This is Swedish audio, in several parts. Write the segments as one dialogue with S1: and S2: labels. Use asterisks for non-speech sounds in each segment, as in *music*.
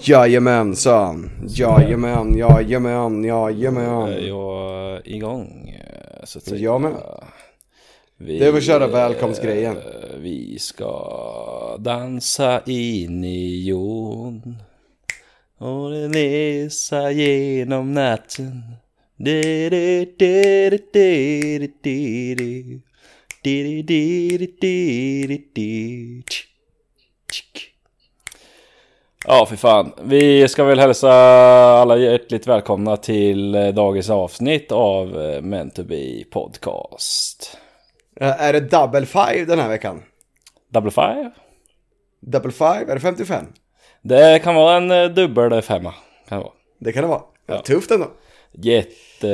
S1: Jajamensan, jajamän, jajamän, jajamän.
S2: Jag är igång eh, så att säga.
S1: Jag med.
S2: Vi,
S1: Det är väl köra välkomstgrejen.
S2: eh, Vi ska dansa in i jorden och resa genom natten. Di, di, di, di, di, di, di, di. Di, di, di, di, di, di, di. Tsk, tsk. Ja, för fan. Vi ska väl hälsa alla hjärtligt välkomna till eh, dagens avsnitt av eh, Meant to be Podcast.
S1: Eh, Är det double five den här veckan?
S2: Double five?
S1: Double five, är det 55?
S2: Det kan vara en eh, dubbel femma. Kan det vara.
S1: Det kan det vara. Ja,
S2: Ja.
S1: Tufft ändå.
S2: Jätte,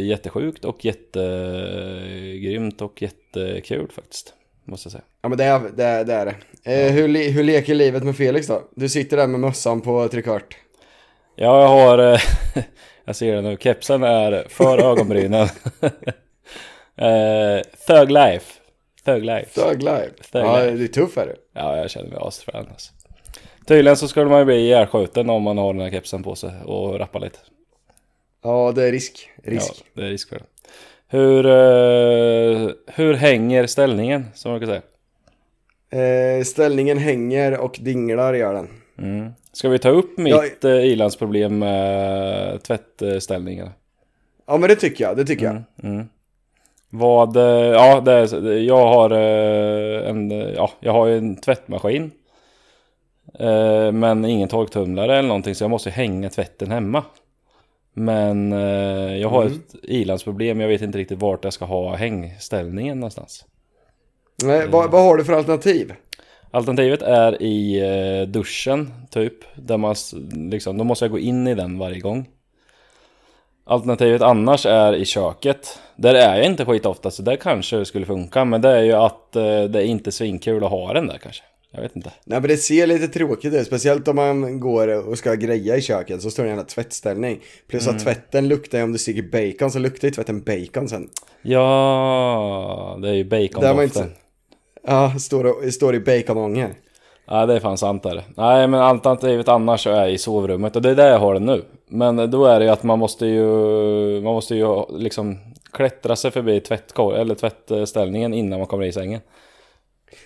S2: jättesjukt och jättegrymt och jättekul faktiskt. Måste jag säga.
S1: Ja men det är det. Är, det, är det. Eh, hur, li- hur leker livet med Felix då? Du sitter där med mössan på trekvart.
S2: Ja, jag har... eh, *laughs* jag ser det nu. Kepsen är för ögonbrynen. *laughs* Eh, Thug life. Thug life.
S1: Thug life.
S2: Thug
S1: ja,
S2: life.
S1: det är tuff är du.
S2: Ja, jag känner mig asfrän alltså. Tydligen så skulle man ju bli ihjälskjuten om man har den här kepsen på sig och rappa lite.
S1: Ja, det är risk. Risk.
S2: Ja, det är risk för det. Hur, eh, hur hänger ställningen, som man kan säga?
S1: Eh, ställningen hänger och dinglar gör den.
S2: Mm. Ska vi ta upp mitt
S1: Jag-
S2: eh, ilandsproblem med tvättställningarna?
S1: Ja men det tycker jag, det tycker jag.
S2: Mm. Vad, eh, ja, det är, så- det- jag har eh, en, eh, ja, jag har ju en tvättmaskin. Eh, Men ingen torktumlare eller någonting så jag måste hänga tvätten hemma. Men eh, jag har ett ilandsproblem, jag vet inte riktigt vart jag ska ha hängställningen någonstans. Mm.
S1: Nej, Eh, vad, vad har du för alternativ?
S2: Alternativet är i eh, duschen, typ. Där man s- liksom, då måste jag gå in i den varje gång. Alternativet annars är i köket. Där är jag inte skitofta, så där kanske det skulle funka. Men det är ju att eh, det är inte svinkul att ha den där kanske. Jag vet inte.
S1: Nej men det ser lite tråkigt ut, speciellt om man går och ska greja i köket så står det en jävla tvättställning. Plus att tvätten luktar ju, om du steker bacon så luktar ju tvätten bacon sen.
S2: Ja, det är ju
S1: Där man
S2: bacondoften.
S1: inte... Ja, står, och, står i baconånger.
S2: Ja, det är fan sant där. Nej, men alternativet annars är i sovrummet och det är där jag har den nu. Men då är det ju att man måste ju, man måste ju liksom klättra sig förbi tvättkor, eller tvättställningen innan man kommer i sängen.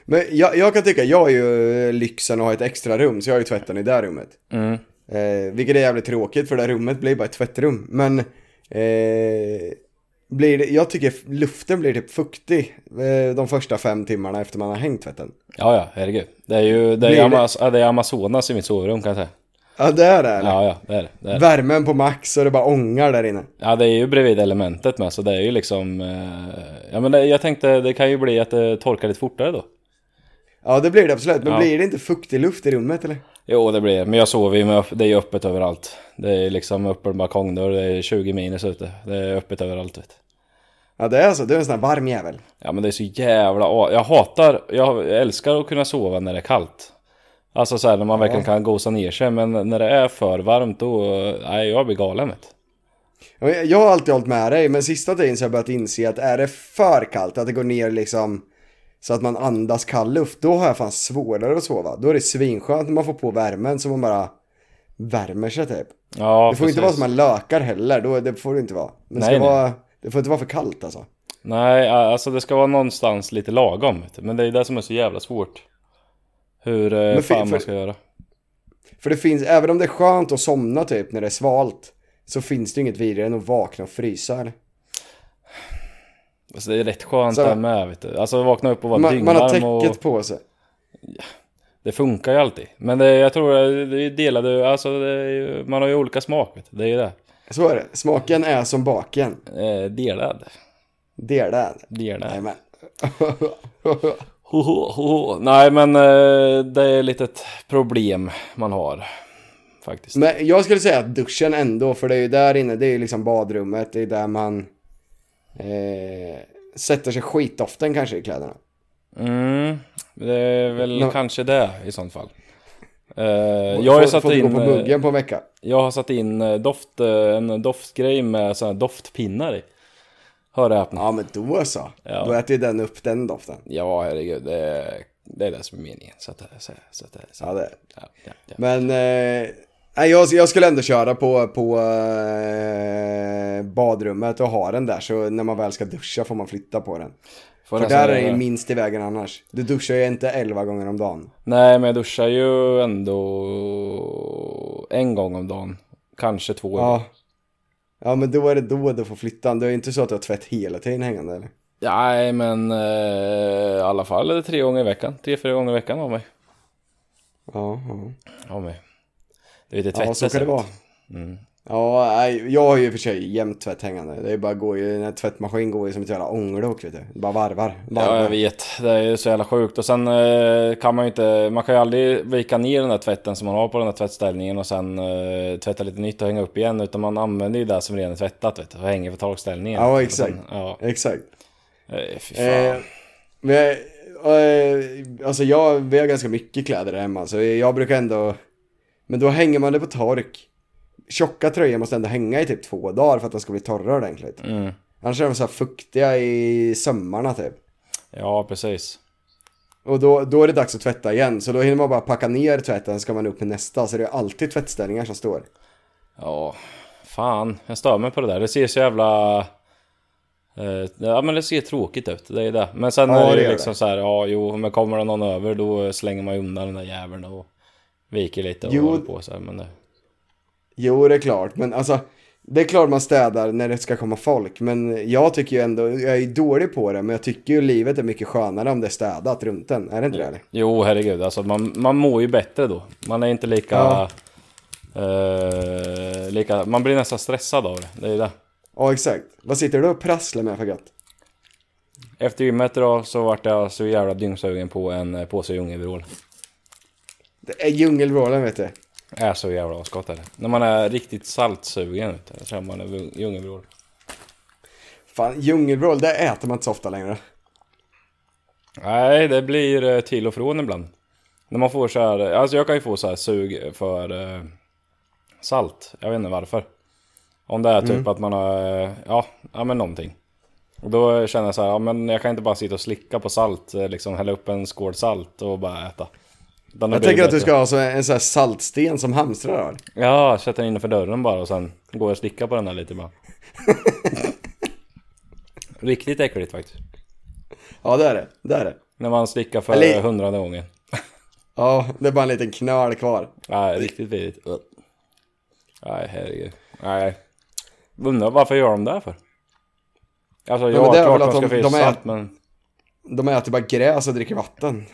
S1: Men jag, jag kan tycka, jag har ju eh, lyxen att ha ett extra rum så jag har ju tvätten i det här rummet.
S2: Mm.
S1: Eh, vilket är jävligt tråkigt för det här rummet blir bara ett tvättrum. Men eh, blir det, jag tycker luften blir typ fuktig eh, de första fem timmarna efter man har hängt tvätten.
S2: Ja, ja, herregud. Det är ju, det är,
S1: Blir det-
S2: Amaz- ja, det är Amazonas i mitt sovrum kan jag säga.
S1: Ja, det är det. eller?
S2: Ja, ja, det är det. det, är det.
S1: Värmen på max och det bara ångar där inne.
S2: Ja, det är ju bredvid elementet med, så det är ju liksom... eh, Ja, men det, jag tänkte, det kan ju bli att det torkar lite fortare då.
S1: Ja, det blir det absolut. Men
S2: Ja.
S1: blir det inte fuktig luft i rummet eller?
S2: Jo, det blir det. Men jag sover ju med, öpp- det är ju öppet överallt. Det är liksom öppen balkongdörr, det är 20 minus ute. Det är öppet överallt vet du.
S1: Ja, det är så. Du är en sån här varm jävel.
S2: Ja men det är så jävla... a- Jag hatar, jag älskar att kunna sova när det är kallt. Alltså såhär när man verkligen kan gosa ner sig, men när det är för varmt då... Nej, jag blir galen vet du.
S1: Ja, men Jag jag har alltid hållit med dig, men sista tiden så har jag börjat inse att är det för kallt, att det går ner liksom så att man andas kall luft, då har jag fan svårare att sova. Då är det svinskönt när man får på värmen så man bara värmer sig typ.
S2: Ja,
S1: det får inte vara så att man lökar heller, då, det får det inte vara. Men det,
S2: Nej,
S1: ska
S2: nej.
S1: vara, det får inte vara för kallt alltså.
S2: Nej, alltså det ska vara någonstans lite lagom. Vet du. Men det är det som är så jävla svårt. Hur eh,
S1: för-
S2: fan
S1: för-
S2: man ska göra.
S1: För det finns, även om det är skönt att somna typ när det är svalt, så finns det ju inget vidare än att vakna och frysa. Eller?
S2: Alltså det är rätt skönt
S1: Så-
S2: där med vet du. Alltså vakna upp och vara
S1: Man, man har
S2: dyngvarm och...
S1: täcket på sig.
S2: Det funkar ju alltid. Men det, jag tror det det är delade, alltså det är, ju- man har ju olika smak vet du. Det är ju det.
S1: Så är det. Smaken är som baken.
S2: Eh, delad.
S1: Det är det.
S2: Delad.
S1: Jajamän. *laughs*
S2: Ho, ho, ho, ho. Nej men eh, det är lite ett problem man har. Faktiskt.
S1: Men jag skulle säga att duschen ändå, för det är ju där inne, det är ju liksom badrummet, det är där man eh, sätter sig skitoften kanske i kläderna.
S2: Mm, det är väl
S1: Nå-
S2: kanske det i sånt fall. Eh, jag har ju
S1: Får-
S2: satt
S1: får
S2: in...
S1: gå på
S2: eh,
S1: muggen på en vecka.
S2: Jag har satt in eh, doft, eh, en doftgrej med såna här doftpinnar i. Hör och häpna.
S1: Ja men då så.
S2: Ja.
S1: Då äter ju den upp den doften.
S2: Ja, herregud. Det är, det är det som är meningen. Så att, så, så att, så
S1: Ja, det är det.
S2: ja, ja, ja.
S1: Men eh, nej, jag, jag skulle ändå köra på, på eh, badrummet och ha den där. Så när man väl ska duscha får man flytta på den.
S2: För
S1: För där är det ju minst i vägen annars. Du duschar ju inte elva gånger om dagen.
S2: Nej, men jag duschar ju ändå en gång om dagen. Kanske två.
S1: Ja. Ja men då är det då du får flytta den. Det är ju inte så att du har tvätt hela tiden hängande eller?
S2: Nej, men eh, i alla fall är det tre gånger i veckan. Tre, fyra gånger i veckan av mig.
S1: Ja, ja.
S2: Av mig. Du vet, det
S1: ja
S2: tvättas
S1: så kan det
S2: ut.
S1: vara.
S2: Mm.
S1: Ja, nej, jag har ju i och för sig jämt tvätt hängande. Det är bara går ju, en tvättmaskin går ju som ett jävla ånglok vet du. Det bara varvar. varvar.
S2: Ja, jag vet. Det är ju så jävla sjukt. Och sen eh, kan man ju inte... Man kan ju aldrig vika ner den där tvätten som man har på den där tvättställningen och sen eh, tvätta lite nytt och hänga upp igen. Utan man använder ju det som redan är tvättat, vet du. Och hänger på takställningen.
S1: Ja,
S2: Och
S1: exakt.
S2: sen- Ja,
S1: Exakt.
S2: Eh, fy fan.
S1: Eh, men jag, eh, alltså jag, vi har ganska mycket kläder där hemma så jag brukar ändå, men då hänger man det på tork. Tjocka tröjor måste ändå hänga i typ två dagar för att de ska bli torra ordentligt.
S2: Mm.
S1: Annars är de så här fuktiga i sömmarna typ.
S2: Ja, precis.
S1: Och då, då är det dags att tvätta igen, så då hinner man bara packa ner tvätten, ska man upp med nästa, så det är alltid tvättställningar som står.
S2: Ja, fan. Jag stör mig på det där. Det ser så jävla... eh, Ja men det ser tråkigt ut, det är det. Men sen
S1: Ja,
S2: är
S1: det
S2: det ju
S1: gör
S2: liksom så här, ja jo, men kommer det någon över då slänger man ju undan den där jäveln och viker lite och
S1: Jo.
S2: håller på så här, men eh. det...
S1: Jo, det är klart, men alltså det är klart man städar när det ska komma folk, men jag tycker ju ändå, jag är ju dålig på det, men jag tycker ju livet är mycket skönare om det är städat runt en. Är det
S2: Mm.
S1: inte det? Eller?
S2: Jo, herregud. Alltså, man, man mår ju bättre då. Man är inte lika...
S1: Ja.
S2: eh, lika man blir nästan stressad av det. Det är det.
S1: Ja, exakt. Vad sitter du och prasslar med för gött?
S2: Efter gymmet idag så vart jag så jävla dyngsugen på en eh, påse Ljungebyrål.
S1: Det är djungelvrålen, vet du.
S2: Är så jävla avskott är det. När man är riktigt saltsugen vet du, så känner man en ljung- Ljungebyrål.
S1: Fan, djungelvrål, det äter man inte så ofta längre.
S2: Nej, det blir eh, till och från ibland. När man får så här... Alltså jag kan ju få så här sug för eh, salt. Jag vet inte varför. Om det är typ
S1: Mm.
S2: att man har... eh, Ja, ja men någonting. Och då känner jag så här, ja men jag kan inte bara sitta och slicka på salt, eh, liksom hälla upp en skål salt och bara äta. Utan då
S1: Jag
S2: blir det
S1: tänker att du
S2: bättre.
S1: ska ha så en sån här saltsten som hamstrar har.
S2: Ja, sätta den innanför dörren bara och sen går jag och slickar på den här
S1: *laughs*
S2: lite bara. Riktigt äckligt faktiskt.
S1: Ja, det är det. Det är det.
S2: När man slickar för
S1: Eller-
S2: hundrade gången.
S1: Ja, det är bara en liten knöl kvar.
S2: Nej, riktigt vidrigt. Ugh. Nej, herregud. Nej. Undrar varför gör de det här för? Alltså,
S1: men
S2: ja,
S1: det är väl
S2: klart de
S1: att
S2: ska
S1: de-
S2: få i
S1: de är-
S2: salt, men...
S1: De äter bara gräs och dricker vatten.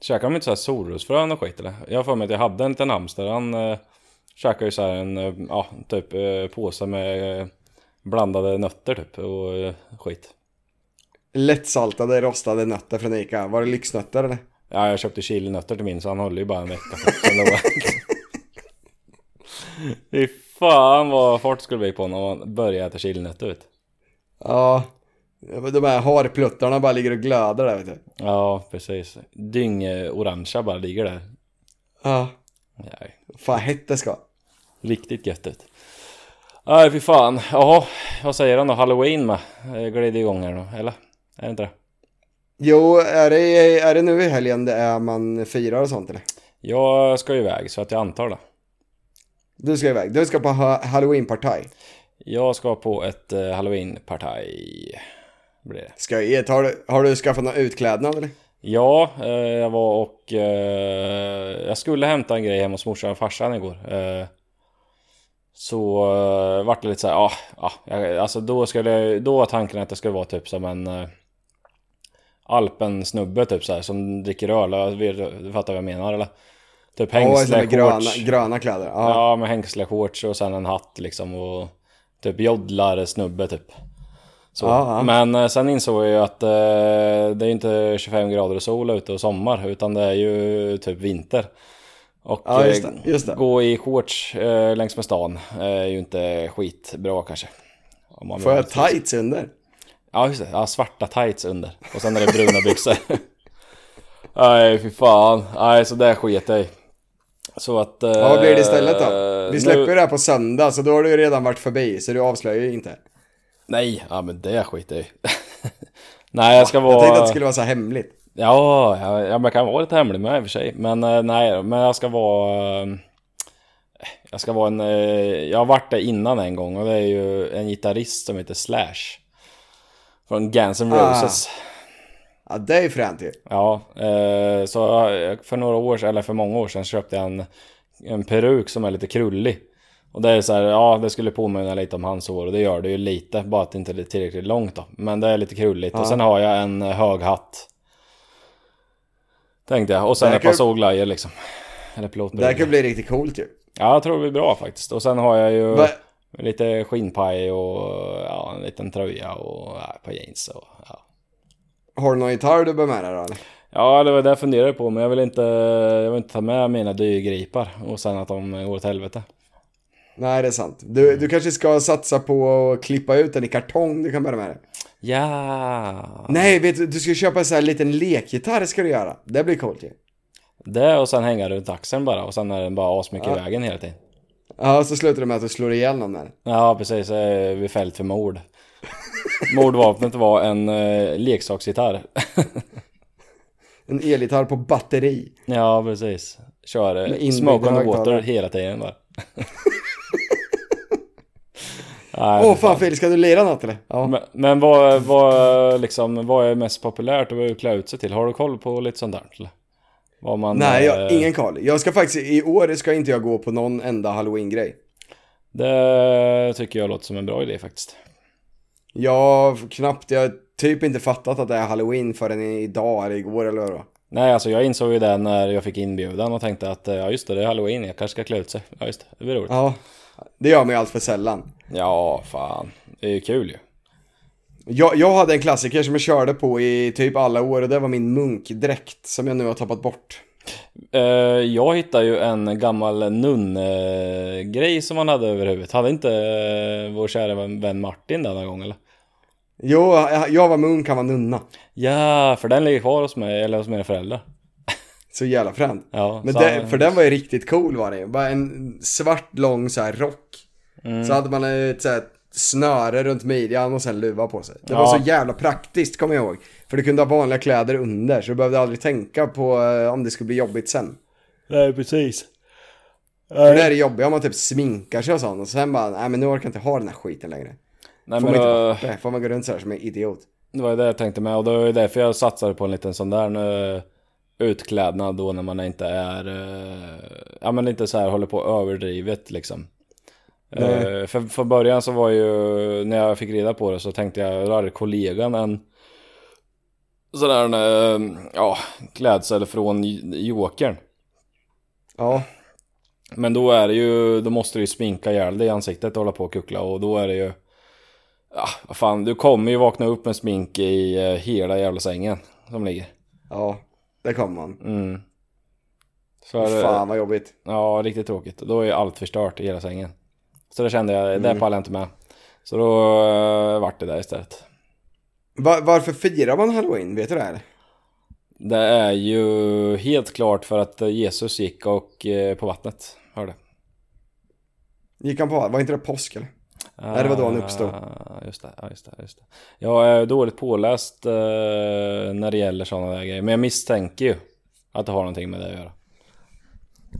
S2: Käkar de inte så här solrosfrön och skit eller? Jag har för mig att jag hade en liten hamster. Han eh, käkade ju så här en, eh, ja, typ eh, påse med eh, blandade nötter typ och eh, skit.
S1: Lättsaltade, rostade nötter från Ica. Var det lyxnötter eller?
S2: Ja, jag köpte chilinötter till min så han höll ju bara en vecka. på- Sen då... *laughs* Fy fan vad fart skulle bli på honom om han började äta chilinötter vet du.
S1: Ja. De här harpluttarna bara ligger och glöder där, vet du.
S2: Ja, precis. Dyng-orangea bara ligger där.
S1: Ja.
S2: Nej,
S1: Fan, hett det ska.
S2: riktigt gött ut. Nej, fy fan. Jaha, vad säger han då? Halloween med? Eh, Glider igång här då, eller? Är det inte det?
S1: Jo, är det, är det nu i helgen det är man firar och sånt eller?
S2: Jag ska ju iväg så att jag antar det.
S1: Du ska iväg. Du ska på ha- halloweenpartaj.
S2: Jag ska på ett eh, halloween-partaj. Blir det.
S1: Skojigt. Har du, har du skaffat någon utklädnad eller?
S2: Ja, eh, jag var och... Eh, jag skulle hämta en grej hemma hos morsan och farsan igår. Eh, så eh, vart det lite så här, ja, ja, jag- alltså då skulle jag, då var tanken att jag skulle vara typ som en eh, alpensnubbe typ så här som dricker öl, Jag vet- du fattar vad jag menar eller? Typ
S1: Ja, såna
S2: hängsle,
S1: här gröna,
S2: shorts.
S1: gröna kläder. Ja.
S2: Ja, med hängsleshorts och sen en hatt liksom och typ joddlar snubbe typ. Så.
S1: Ja, ja.
S2: Men eh, sen insåg jag ju att eh, det är ju inte 25 grader och sol ute och sommar utan det är ju typ vinter. Och
S1: Ja, just
S2: eh,
S1: det, just det.
S2: gå i shorts eh, längs med stan är ju inte skitbra kanske. Om man
S1: Får
S2: vill-
S1: jag tights under?
S2: Ja, just det. Ja, svarta tights under. Och sen är det bruna byxor. *laughs* Nej, fy fan. Nej, så där sket jag i. Så att... Eh,
S1: Ja, vad blir det istället då? Vi släpper
S2: nu...
S1: ju det här på söndag, så då har du ju redan varit förbi, så du avslöjar ju inte.
S2: Nej, ja men det skiter jag i. *laughs* Nej, jag ska
S1: Jag tänkte att
S2: vara...
S1: det skulle vara så här hemligt.
S2: Ja, ja, ja, men jag kan vara lite hemlig med i och för sig. Men eh, nej, men jag ska vara... eh, Jag ska vara en... eh, Jag har varit det innan en gång och det är ju en gitarrist som heter Slash. Från Guns N'
S1: Ah.
S2: Roses.
S1: Ja, det är fränt ju.
S2: Ja, eh, så jag- för några år sedan, eller för många år sedan köpte jag en, en peruk som är lite krullig. Och det är så här, ja det skulle påminna lite om hans hår och det gör det ju lite, bara att det inte är tillräckligt långt då. Men det är lite krulligt och sen har jag en eh, hög hatt. Tänkte jag, och sen
S1: Där
S2: ett
S1: kan-
S2: par solglajjor liksom. Eller
S1: Det här
S2: pilotbrillor.
S1: kan bli riktigt coolt ju.
S2: Ja, jag tror det blir bra faktiskt. Och sen har jag ju
S1: Va-
S2: lite skinnpaj och ja, en liten tröja och ja, ett par jeans och ja.
S1: Har du någon gitarr du bär med dig då? eller?
S2: Ja, det var det jag funderade på, men jag vill inte, jag vill inte ta med mina dyrgripar och sen att de går åt helvete.
S1: Nej, det är sant. Du, du kanske ska satsa på att klippa ut den i kartong du kan bära med dig.
S2: Ja!
S1: Nej, vet du, du ska köpa en sån här liten lekgitarr ska du göra. Det blir coolt ju.
S2: Det och sen hänga runt axeln bara och sen är den bara asmycket i vägen hela tiden.
S1: Ja, så slutar det med att du slår ihjäl någon med den.
S2: Ja, precis. eh, Vi är fällt för mord. *laughs* Mordvapnet var en eh, leksaksgitarr. *laughs*
S1: En elgitarr på batteri.
S2: ja, precis. Kör eh,
S1: inbyggda
S2: smoke on the water
S1: högtalare.
S2: hela tiden *laughs* bara. Nej,
S1: Åh fan Felix, ska du lira något eller? Ja.
S2: Men, men vad, vad, liksom, vad är mest populärt och vad är klä ut sig till? Har du koll på lite sånt där? Eller? Vad man,
S1: Nej, jag,
S2: eh,
S1: ingen koll. Jag ska faktiskt, i år ska inte jag gå på någon enda halloween-grej.
S2: Det tycker jag låter som en bra idé faktiskt.
S1: Jag knappt, jag har typ inte fattat att det är halloween förrän idag eller igår eller vad det var.
S2: Nej, alltså jag insåg ju det när jag fick inbjudan och tänkte att eh, ja just det, det är halloween, jag kanske ska klä ut sig. Ja just det, det blir roligt. Ja,
S1: Ja, det gör man ju allt för sällan.
S2: fan, det är ju kul ju.
S1: Jag, jag hade en klassiker som jag körde på i typ alla år och det var min munkdräkt som jag nu har tappat bort.
S2: Eh, jag hittade ju en gammal nunngrej som man hade över huvudet. Hade inte eh, vår kära vän vän Martin den någon gång eller?
S1: Jo, jag, jag var munk, han var nunna.
S2: Ja, för den ligger kvar hos mig, eller hos mina föräldrar.
S1: Så jävla fränt.
S2: Ja,
S1: Men
S2: så
S1: det,
S2: han-
S1: för den var ju riktigt cool var det ju. Bara en svart lång så här rock.
S2: Mm.
S1: Så hade man ett så här snöre runt midjan och sen luva på sig. Det var
S2: Ja.
S1: så jävla praktiskt kommer jag ihåg. För du kunde ha vanliga kläder under så du behövde aldrig tänka på eh, om det skulle bli jobbigt sen.
S2: Nej, precis. Eh.
S1: För det är det jobbiga om man typ sminkar sig och sånt och sen bara, nej men nu orkar jag inte ha den här skiten längre.
S2: Nej,
S1: Får
S2: men
S1: man, inte,
S2: det,
S1: fatta det, får man gå runt så här som en idiot.
S2: det var ju det jag tänkte med och det var ju därför jag satsade på en liten sån där eh, utklädnad då när man inte är, eh, ja men inte så här håller på överdrivet liksom.
S1: Nej.
S2: Eh, För, för början så var ju, när jag fick reda på det så tänkte jag, då hade kollegan en sån där, eh, ja, klädsel från J- Jokern.
S1: Ja,
S2: Men då är det ju, då måste du ju sminka ihjäl dig i ansiktet och hålla på och kuckla och då är det ju... Ja, vad fan, du kommer ju vakna upp med smink i eh, hela jävla sängen som ligger.
S1: ja, det kommer man.
S2: Mm. För,
S1: Fan vad jobbigt.
S2: Ja, riktigt tråkigt. Då är ju allt förstört i hela sängen. Så det kände jag, det pallar jag inte med. Så då uh, vart det där istället.
S1: Va- varför firar man halloween? Vet du det här?
S2: Det är ju helt klart för att eh, Jesus gick och eh, på vattnet, hörde.
S1: Gick han på, var inte det påsk eller? Nej, det var då han uppstod.
S2: Ah, Just det, ja, just det, just det. Jag är dåligt påläst eh, när det gäller sådana där grejer, men jag misstänker ju att det har någonting med det att göra.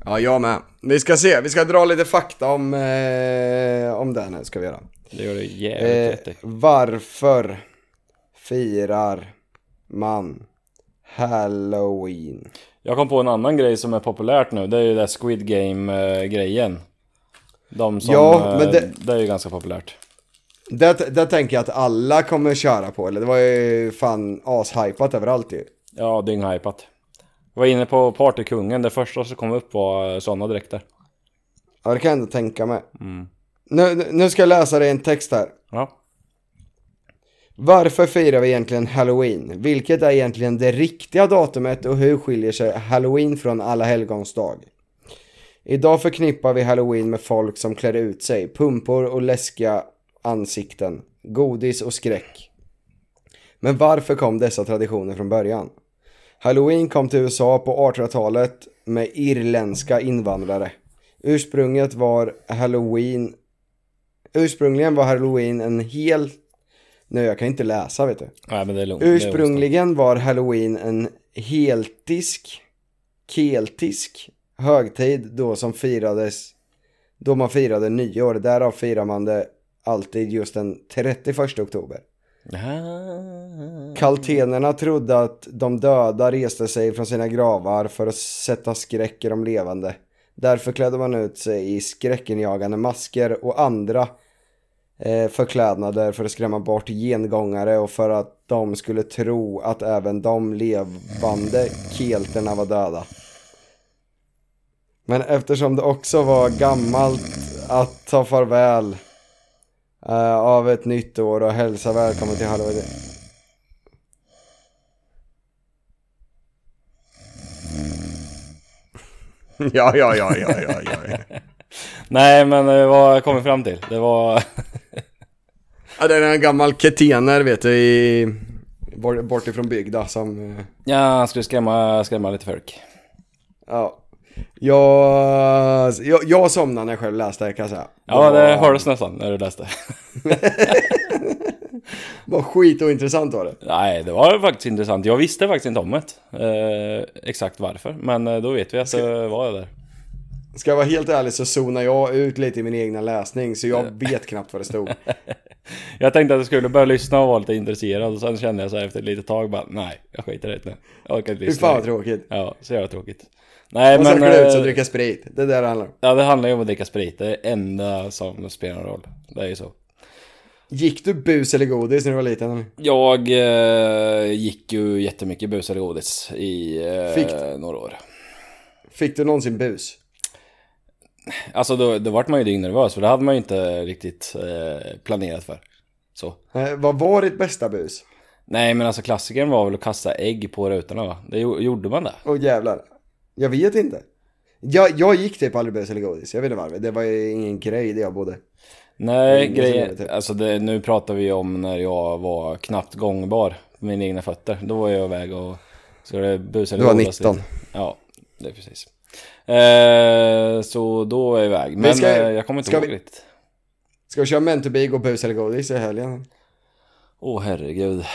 S1: Ja, jag med. Vi ska se, vi ska dra lite fakta om, eh, om det här nu ska vi göra.
S2: Det gör det jävligt
S1: Eh,
S2: rätt i.
S1: varför firar man halloween?
S2: Jag kom på en annan grej som är populärt nu, det är ju det Squid Game-grejen. De som,
S1: Ja,
S2: eh,
S1: men
S2: det...
S1: det-
S2: är ju ganska populärt.
S1: Det, det tänker jag att alla kommer köra på, eller det var ju fan ashypat överallt ju.
S2: Ja, dynghypat. Jag var inne på Partykungen, det första som kom upp var sådana dräkter.
S1: Ja, det kan jag ändå tänka mig. Nu, nu ska jag läsa dig en text här.
S2: Ja.
S1: Varför firar vi egentligen halloween? Vilket är egentligen det riktiga datumet och hur skiljer sig halloween från alla helgons dag? Idag förknippar vi halloween med folk som klär ut sig, pumpor och läskiga ansikten, godis och skräck. Men varför kom dessa traditioner från början? Halloween kom till USA på 1800-talet med irländska invandrare. Ursprunget var halloween Ursprungligen var halloween en hel Nu, jag kan inte läsa vet du.
S2: Nej, men det är lugnt. Det är onsdag.
S1: Ursprungligen var halloween en heltisk, keltisk högtid då som firades, då man firade nyår. Därav firar man det alltid just den 31 oktober.
S2: Ah.
S1: Kaltenerna trodde att de döda reste sig från sina gravar för att sätta skräck i de levande. Därför klädde man ut sig i skräckenjagande masker och andra eh, förklädnader för att skrämma bort gengångare och för att de skulle tro att även de levande kelterna var döda. Men eftersom det också var gammalt att ta farväl eh, av ett nytt år och hälsa välkommen till halva... Ja, ja, ja, ja, ja, ja.
S2: Nej, men eh, vad jag kommer fram till, det var... *laughs*
S1: ja det är en gammal ketener vet du, i... bort- bortifrån bygda som... eh,
S2: Ja, han skulle skrämma, skrämma lite folk.
S1: Ja. Jag, jag, jag somnade när jag själv läste det kan jag säga.
S2: Ja, det hördes nästan när du läste.
S1: Var skit och intressant var det.
S2: *laughs* Nej, det var faktiskt intressant. Jag visste faktiskt inte om det. Eh, exakt varför, men eh, då vet vi att det var det där.
S1: Ska jag vara helt ärlig så zonar jag ut lite i min egna läsning så jag vet knappt vad det
S2: *laughs*
S1: stod.
S2: Jag tänkte att jag skulle börja lyssna och vara lite intresserad och sen kände jag så här efter ett litet tag bara nej, jag skiter i det nu. Jag orkar inte
S1: Fy
S2: lyssna.
S1: fan vad tråkigt.
S2: Ja, så jävla tråkigt. Nej,
S1: Och sen
S2: men...
S1: klä ut sig
S2: eh,
S1: och dricka sprit. Det är det det handlar om.
S2: Ja, det handlar ju om att dricka sprit. Det är det enda som spelar någon roll. Det är ju så.
S1: Gick du bus eller godis när du var liten?
S2: Jag eh, gick ju jättemycket bus eller godis i eh,
S1: Fick.
S2: några år.
S1: Fick du någonsin bus?
S2: Alltså då, då vart man ju dyngnervös för det hade man ju inte riktigt eh, planerat för. Så.
S1: Eh, vad var ditt bästa bus?
S2: Nej men alltså klassikern var väl att kasta ägg på rutorna va? Det gjo- gjorde man det?
S1: Åh jävlar. Jag vet inte. Jag, jag gick typ aldrig bus eller godis. Jag vet inte varför. Det var ju ingen grej där jag bodde.
S2: Nej,
S1: ingen som gjorde
S2: grejen,
S1: det. typ.
S2: alltså det, nu pratar vi ju om när jag var knappt gångbar på mina egna fötter. Då var jag iväg och skulle busa eller
S1: Du var
S2: godas
S1: 19.
S2: lite. Ja, det är precis. Eh, så då var jag iväg. Men
S1: ska-
S2: eh, jag kommer inte
S1: ska
S2: ihåg
S1: vi-
S2: riktigt.
S1: Ska vi köra Mentobig och bus eller godis i helgen?
S2: Åh herregud. *laughs*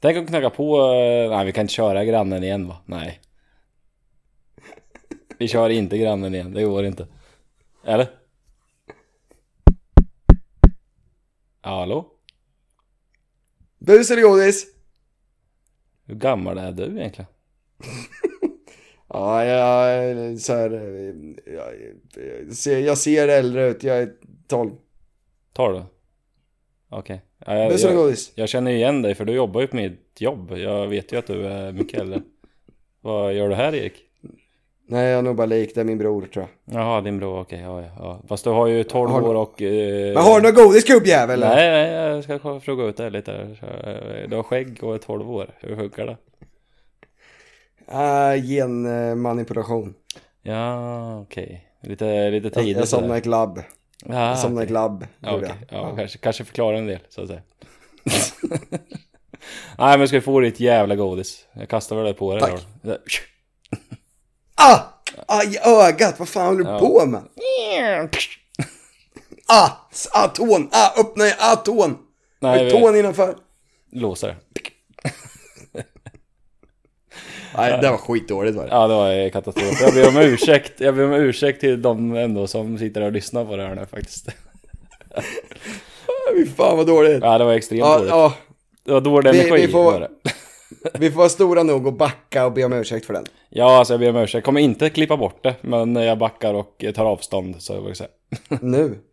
S2: Tänk om knacka på... eh, Nej, vi kan inte köra grannen igen va? Nej. Vi kör inte grannen igen, det går inte. Eller? Hallå?
S1: Bus eller godis?
S2: Hur gammal är du egentligen?
S1: Ja, jag är så här, eh, jag, jag, ser, jag ser äldre ut, jag är 12.
S2: Tar du? Okej. Ja, jag,
S1: Bus eller
S2: jag,
S1: godis?
S2: jag känner ju igen dig för du jobbar ju på mitt jobb. Jag vet ju att du är mycket äldre. Vad gör du här Erik?
S1: Nej, jag är nog bara lik, det är min bror tror jag.
S2: Jaha, din bror, okej. ja, ja, ja. Fast du har ju 12
S1: Har du-
S2: år och... eh,
S1: Men har du någon godis gubbjävel?
S2: Nej, nej, jag ska kolla- fråga ut det lite. här. Du har skägg och är 12 år. Hur funkar det?
S1: Uh, genmanipulation.
S2: Ja, okej. Lite, lite
S1: Jag,
S2: tidigt.
S1: jag somnade i ett labb.
S2: sådär. ah,
S1: Jag somnade i ett labb.
S2: ja,
S1: gjorde
S2: okej.
S1: jag.
S2: ja, kanske, kanske förklarar en del, så att säga. *laughs* nej, men ska du få ditt jävla godis. Jag kastar väl det på dig.
S1: Tack. *laughs*
S2: då.
S1: Ah! Ah, i ögat! Vad fan håller du
S2: Ja.
S1: på med? Ah! s- Ah, tån! Ah, öppna i ah, tån!
S2: Nej,
S1: Nej,
S2: vi-
S1: tån innanför.
S2: Låser det.
S1: Nej, det var skitdåligt var det.
S2: Ja, det var ju katastrof. Jag ber om ursäkt. Jag ber om ursäkt till de ändå som sitter och lyssnar på det här nu faktiskt.
S1: Fy fan vad dåligt.
S2: Ja, det var extremt
S1: Ja,
S2: dåligt.
S1: ja.
S2: Det var dålig
S1: Vi-
S2: energi.
S1: vi får-
S2: var det.
S1: Vi får vara stora nog att backa och be om ursäkt för den.
S2: Ja, alltså jag ber om ursäkt. Jag kommer inte klippa bort det, men jag backar och tar avstånd. Så jag vill säga.
S1: Nu.